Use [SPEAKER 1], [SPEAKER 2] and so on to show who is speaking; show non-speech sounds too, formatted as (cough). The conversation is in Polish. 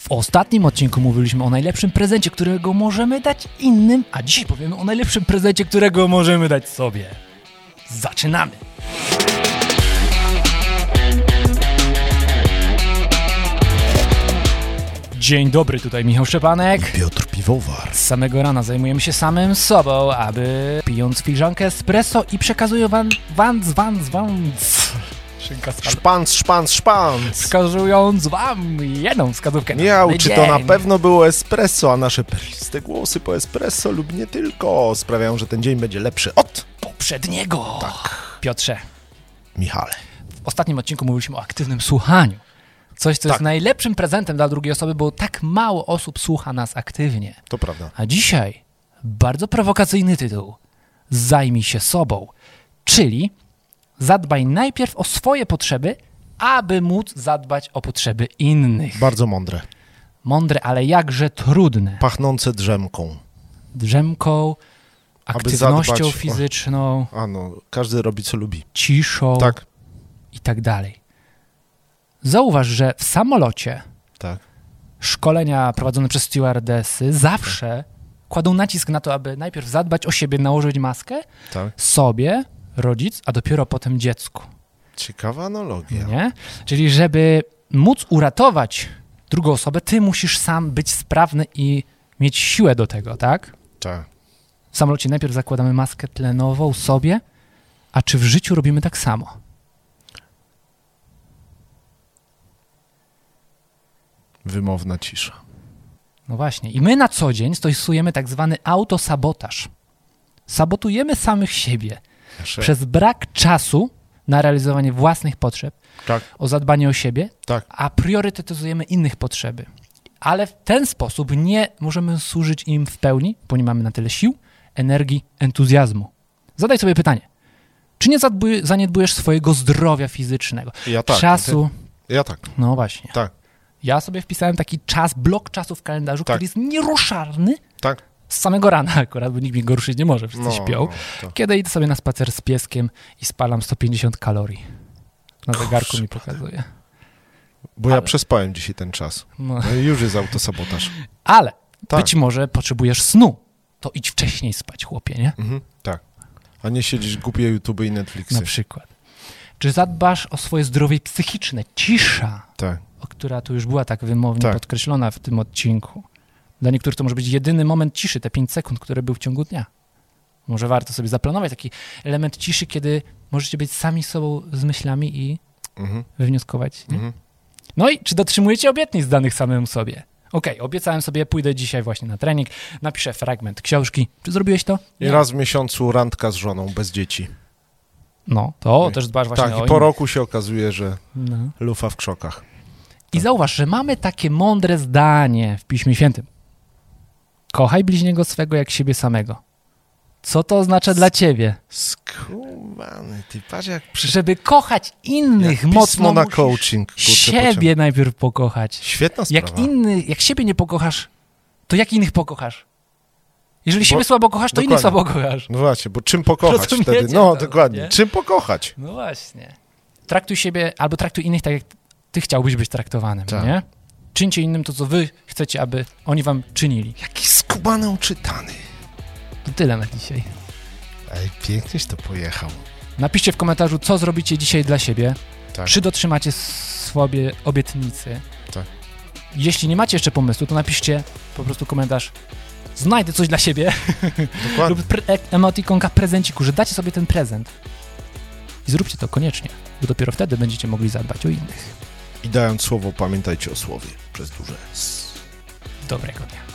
[SPEAKER 1] W ostatnim odcinku mówiliśmy o najlepszym prezencie, którego możemy dać innym, a dzisiaj powiemy o najlepszym prezencie, którego możemy dać sobie. Zaczynamy! Dzień dobry, tutaj Michał Szczepanek.
[SPEAKER 2] Piotr Piwowar.
[SPEAKER 1] Z samego rana zajmujemy się samym sobą, aby pijąc filiżankę espresso i przekazuję wam wans, wans, wans. Szynka z palmą.
[SPEAKER 2] Szpanc, szpanc, szpanc.
[SPEAKER 1] wskazując wam jedną wskazówkę. na
[SPEAKER 2] Miał,
[SPEAKER 1] dany
[SPEAKER 2] czy to na
[SPEAKER 1] dzień.
[SPEAKER 2] pewno było espresso, a nasze perliste głosy po espresso lub nie tylko sprawiają, że ten dzień będzie lepszy od
[SPEAKER 1] Poprzedniego.
[SPEAKER 2] Tak.
[SPEAKER 1] Piotrze,
[SPEAKER 2] Michale.
[SPEAKER 1] w ostatnim odcinku mówiliśmy o aktywnym słuchaniu. Coś, co
[SPEAKER 2] Tak.
[SPEAKER 1] jest najlepszym prezentem dla drugiej osoby, bo tak mało osób słucha nas aktywnie.
[SPEAKER 2] To prawda.
[SPEAKER 1] A dzisiaj bardzo prowokacyjny tytuł. Zajmij się sobą. Czyli zadbaj najpierw o swoje potrzeby, aby móc zadbać o potrzeby innych.
[SPEAKER 2] Bardzo mądre.
[SPEAKER 1] Mądre, ale jakże trudne.
[SPEAKER 2] Pachnące drzemką.
[SPEAKER 1] Drzemką, aktywnością
[SPEAKER 2] zadbać o-
[SPEAKER 1] fizyczną,
[SPEAKER 2] A no, każdy robi co lubi.
[SPEAKER 1] ciszą
[SPEAKER 2] Tak.
[SPEAKER 1] i tak dalej. Zauważ, że w samolocie
[SPEAKER 2] Tak.
[SPEAKER 1] szkolenia prowadzone przez stewardesy zawsze kładą nacisk na to, aby najpierw zadbać o siebie, nałożyć maskę,
[SPEAKER 2] Tak.
[SPEAKER 1] sobie, rodzic, a dopiero potem dziecku.
[SPEAKER 2] Ciekawa analogia.
[SPEAKER 1] Nie? Czyli, żeby móc uratować drugą osobę, ty musisz sam być sprawny i mieć siłę do tego, tak?
[SPEAKER 2] Tak.
[SPEAKER 1] W samolocie najpierw zakładamy maskę tlenową sobie, a czy w życiu robimy tak samo?
[SPEAKER 2] Wymowna cisza.
[SPEAKER 1] No właśnie. I my na co dzień stosujemy tak zwany autosabotaż. Sabotujemy samych siebie
[SPEAKER 2] Prze-
[SPEAKER 1] przez brak czasu na realizowanie własnych potrzeb,
[SPEAKER 2] tak,
[SPEAKER 1] o zadbanie o siebie,
[SPEAKER 2] tak.
[SPEAKER 1] a priorytetyzujemy innych potrzeby. Ale w ten sposób nie możemy służyć im w pełni, bo nie mamy na tyle sił, energii, entuzjazmu. Zadaj sobie pytanie. Czy nie zadbuj- zaniedbujesz swojego zdrowia fizycznego?
[SPEAKER 2] Ja tak.
[SPEAKER 1] Czasu.
[SPEAKER 2] Ja tak.
[SPEAKER 1] No właśnie.
[SPEAKER 2] Tak.
[SPEAKER 1] Ja sobie wpisałem taki czas, blok czasu w kalendarzu,
[SPEAKER 2] Tak.
[SPEAKER 1] który jest nieruszalny
[SPEAKER 2] Tak.
[SPEAKER 1] z samego rana (laughs) akurat, bo nikt mnie go ruszyć nie może, wszyscy
[SPEAKER 2] No,
[SPEAKER 1] śpią.
[SPEAKER 2] no, to-
[SPEAKER 1] Kiedy idę sobie na spacer z pieskiem i spalam 150 kalorii. Na zegarku mi pokazuje.
[SPEAKER 2] Bo ja
[SPEAKER 1] Ale-
[SPEAKER 2] przespałem dzisiaj ten czas.
[SPEAKER 1] No.
[SPEAKER 2] No i już jest autosabotaż.
[SPEAKER 1] Ale
[SPEAKER 2] Tak.
[SPEAKER 1] być może potrzebujesz snu. To idź wcześniej spać, chłopie, nie?
[SPEAKER 2] Mhm, tak. A nie siedzisz głupie YouTube i Netflixy.
[SPEAKER 1] Na przykład. Czy zadbasz o swoje zdrowie psychiczne? Cisza,
[SPEAKER 2] tak.
[SPEAKER 1] o która tu już była tak wymownie
[SPEAKER 2] Tak.
[SPEAKER 1] podkreślona w tym odcinku. Dla niektórych to może być jedyny moment ciszy, te 5 sekund, które był w ciągu dnia. Może warto sobie zaplanować taki element ciszy, kiedy możecie być sami sobą z myślami i
[SPEAKER 2] Mhm,
[SPEAKER 1] wywnioskować. Nie?
[SPEAKER 2] mhm.
[SPEAKER 1] No i czy dotrzymujecie obietnic danych samemu sobie? Okej, obiecałem sobie, pójdę dzisiaj właśnie na trening, napiszę fragment książki. Czy zrobiłeś to?
[SPEAKER 2] I raz w miesiącu randka z żoną bez dzieci.
[SPEAKER 1] No, to też dbasz właśnie
[SPEAKER 2] tak,
[SPEAKER 1] o
[SPEAKER 2] i po
[SPEAKER 1] innych.
[SPEAKER 2] roku się okazuje, że
[SPEAKER 1] No.
[SPEAKER 2] lufa w krzokach.
[SPEAKER 1] I zauważ, że mamy takie mądre zdanie w Piśmie Świętym. Kochaj bliźniego swego jak siebie samego. Co to oznacza dla ciebie?
[SPEAKER 2] Skumany, ty patrz jak
[SPEAKER 1] Żeby kochać innych
[SPEAKER 2] jak
[SPEAKER 1] mocno
[SPEAKER 2] pismo na
[SPEAKER 1] musisz
[SPEAKER 2] coaching. kurczę, pociągnę.
[SPEAKER 1] siebie najpierw pokochać.
[SPEAKER 2] Świetna sprawa.
[SPEAKER 1] Jak inny, jak siebie nie pokochasz, to jak innych pokochasz? Jeżeli
[SPEAKER 2] Bo-
[SPEAKER 1] siebie słabo kochasz, to innych
[SPEAKER 2] dokładnie.
[SPEAKER 1] słabo kochasz.
[SPEAKER 2] No właśnie, bo czym pokochać
[SPEAKER 1] Rozumiecie
[SPEAKER 2] wtedy? No,
[SPEAKER 1] to,
[SPEAKER 2] dokładnie.
[SPEAKER 1] nie?
[SPEAKER 2] Czym pokochać?
[SPEAKER 1] No właśnie. Traktuj siebie albo traktuj innych tak, jak ty chciałbyś być traktowanym,
[SPEAKER 2] Tak.
[SPEAKER 1] nie? Czyńcie innym to, co wy chcecie, aby oni wam czynili.
[SPEAKER 2] Jaki skubany uczytany.
[SPEAKER 1] To tyle na dzisiaj.
[SPEAKER 2] Ej, pięknieś to pojechał.
[SPEAKER 1] Napiszcie w komentarzu, co zrobicie dzisiaj dla siebie.
[SPEAKER 2] Tak.
[SPEAKER 1] Czy dotrzymacie s- sobie obietnicy.
[SPEAKER 2] Tak.
[SPEAKER 1] Jeśli nie macie jeszcze pomysłu, to napiszcie po prostu komentarz znajdę coś dla
[SPEAKER 2] (laughs)
[SPEAKER 1] siebie
[SPEAKER 2] Dokładnie.
[SPEAKER 1] lub pre- e- emotikonka prezenciku, że dacie sobie ten prezent. I zróbcie to koniecznie, bo dopiero wtedy będziecie mogli zadbać o innych.
[SPEAKER 2] I dając słowo, pamiętajcie o słowie przez duże S.
[SPEAKER 1] Dobrego dnia.